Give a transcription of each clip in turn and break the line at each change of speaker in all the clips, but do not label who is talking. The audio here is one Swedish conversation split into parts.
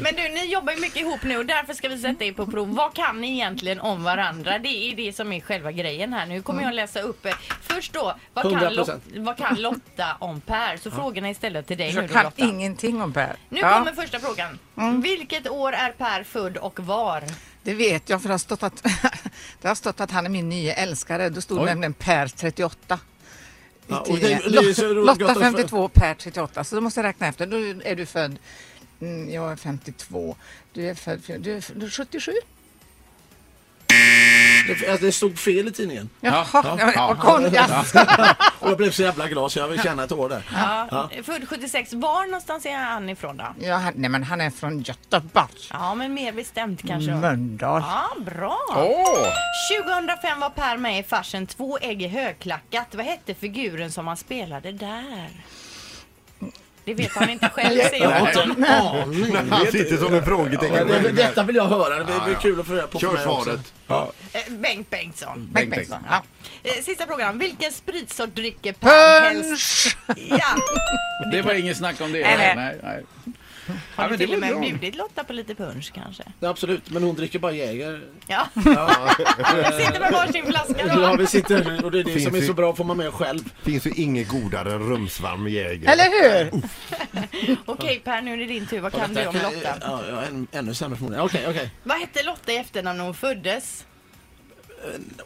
Men du, ni jobbar ju mycket ihop nu och därför ska vi sätta er på prov. Vad kan ni egentligen om varandra? Det är det som är själva grejen här. Nu kommer jag läsa upp. eh, Först då, vad kan,
100%.
Lot- vad kan Lotta om Per? Så frågorna är ställda till dig nu
Jag
då
kan
Lotta.
ingenting om Per.
Nu
Ja, Mm.
kommer första frågan. Vilket år är Per född och var?
Det vet jag för det har stått att, det har stått att han är min nya älskare. Då stod
Oj.
nämligen Per 38. i
Ja, och
tidningen.
det- det är så roligt
Lotta
att-
52, Per 38. Så då måste jag räkna efter. Då är du född, mm, jag är 52, du är född, du är, du är 77?
Det, alltså, det stod fel i tidningen.
Jaha,
Ja,
ja,
ja.
och konjas.
Och jag blev så jävla glad så jag vill känna ett år där.
Ja. Född 76. Var någonstans är han ifrån då?
Ja, han, nej men han är från Göteborg.
Ja, men mer bestämt kanske.
Mm, Mölndal.
Ja, Ah, bra.
Åh!
2005 var Per med i farsen Två ägg i högklackat. Vad hette figuren som han spelade där? Det vet han inte själv, säger
Jag har
jag.
inte en aning.
Han sitter som en frågetecken.
Men det- Detta vill jag höra. Det blir
Ja, ja.
kul att få reda på. för
Kör
mig också.
svaret.
Eh, Bengt Bengtsson.
Bengt
Bengt
Bengtsson.
Bengtsson.
Ja.
Eh, Sista frågan. Vilken spritsort dricker Per helst?
Punch!
Ja.
Det var ingen snack om det.
Nej, nej.
nej, nej.
Har
men
du
det
till och
var
med
bra.
bjudit Lotta på lite punsch kanske?
Ja, absolut, men hon dricker bara Jäger.
Ja. Vi sitter med varsin flaska
Ja,
då.
vi sitter och det är det
Finns
som är
ju-
så bra får man med själv.
Finns ju inget godare än rumsvarm Jäger.
Eller hur?
Okej Per, nu är det din tur. Vad kan du
Detta
om Lotta?
Ja, ja, än, ännu sämre förmodligen. Okej, okej.
Vad hette Lotta i efternamn när hon föddes?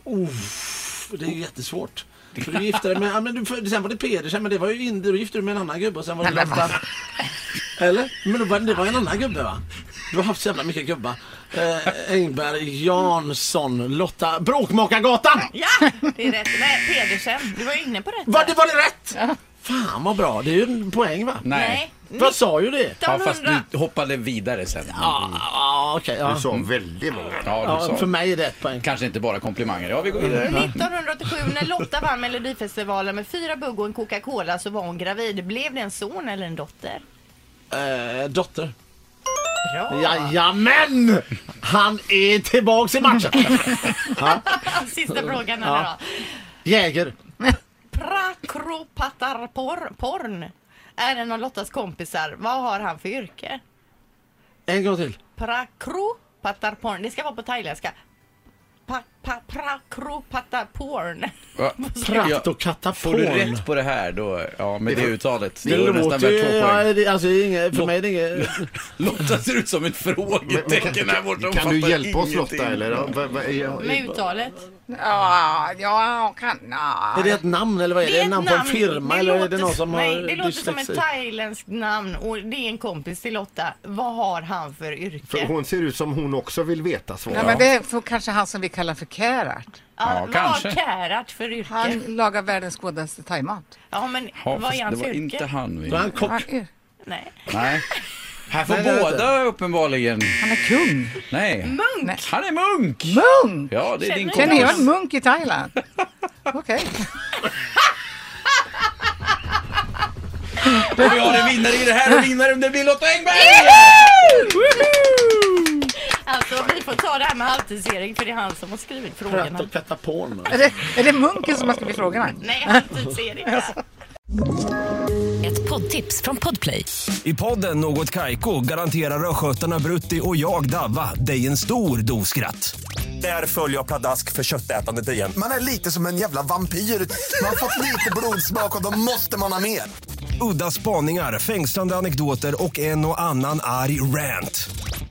Uff, Det är ju jättesvårt. För du gifte dig med, ja, men du, för, sen var det Pedersen, men det var ju inte, du gifte dig med en annan gubbe och sen var det
Nej, men
Lotta. Eller? Men det var, det var en annan gubbe va? Du har haft så jävla mycket gubbar. Eh, Engberg, Jansson, Lotta, Bråkmakargatan!
Ja, det är rätt. Nej, Pedersen. Du var ju inne på rätt.
Var det, var det rätt? Fan vad bra, det är ju en poäng va?
nej.
Vad sa ju det?
Ja, fast
1900.
du hoppade vidare sen.
Ja, ah, okej. ja.
Du sa väldigt många.
Ja, du
Ja,
sa.
för mig är det ett poäng.
Kanske inte bara komplimanger. Ja, vi går
Mm.
vidare.
1987 när Lotta vann Melodifestivalen med fyra bugg och en Coca-Cola så var hon gravid. Blev det en son eller en dotter?
Eh, dotter.
Bra!
Jajamän! Han är tillbaks i matchen.
Sista frågan här då.
Ja. Jäger.
Prakropatarporn är en av Lottas kompisar. Vad har han för yrke?
En gång till.
Prakropatarporn. Det ska vara på thailändska. Pa- pa- Prakropatarporn.
Ja.
Prakt
Ja,
och katapon.
Får du rätt på det här då, ja, med det uttalet,
Det
det är nästan
låter
värt
ju...
två
Ja,
poäng.
det, alltså, det är inget, för mig är det inget...
Lotta ser ut som ett frågetecken här borta. Hon
Kan du
fattar
hjälpa oss
ingenting.
Lotta eller? Ja, va- va- är jag-
Med uttalet.
Ja, ja, kan... Ja.
Är det ett namn eller vad är det?
ett
Är det namn på en firma
Det
eller är det
låter
någon
s-
som
nej,
har
Det låter som ett
dyslexi?
thailändskt namn och det är en kompis till Lotta. Vad har han för yrke?
För hon ser ut som hon också vill veta
Nej,
svaret.
men det är för kanske han som vi kallar för Kärat.
ja,
Ja,
vad
kanske.
har Kärat för yrke?
Han lagar världens godaste thaimat.
Ja, men
Ja,
vad
fast
är
det
hans
var
yrke?
inte han vi...
Då är han kock.
Han är,
Nej.
Nej. Här
Nej, det är
får båda uppenbarligen...
han är kung.
Nej.
Munk!
Nej.
Han är munk!
Munk!
Ja, det är din
Känner
Känner jag
kompis.
en munk i Thailand? Okej.
Och vi har en vinnare i det här och vinnaren det blir Lotta Engberg!
Alltså, vi får ta det här med halvtids-Erik för det är han som har skrivit
Prakt
frågorna.
och katapon.
Är, det, är det munken som har skrivit frågorna?
Nej, halvtids-Erik. ja.
Ett poddtips från Podplay.
I podden Något Kaiko garanterar östgötarna Brutti och jag, Davva, dig en stor dos skratt. Där följer jag pladask för köttätandet igen.
Man är lite som en jävla vampyr. Man har fått lite blodsmak och då måste man ha mer.
Udda spaningar, fängslande anekdoter och en och annan arg rant.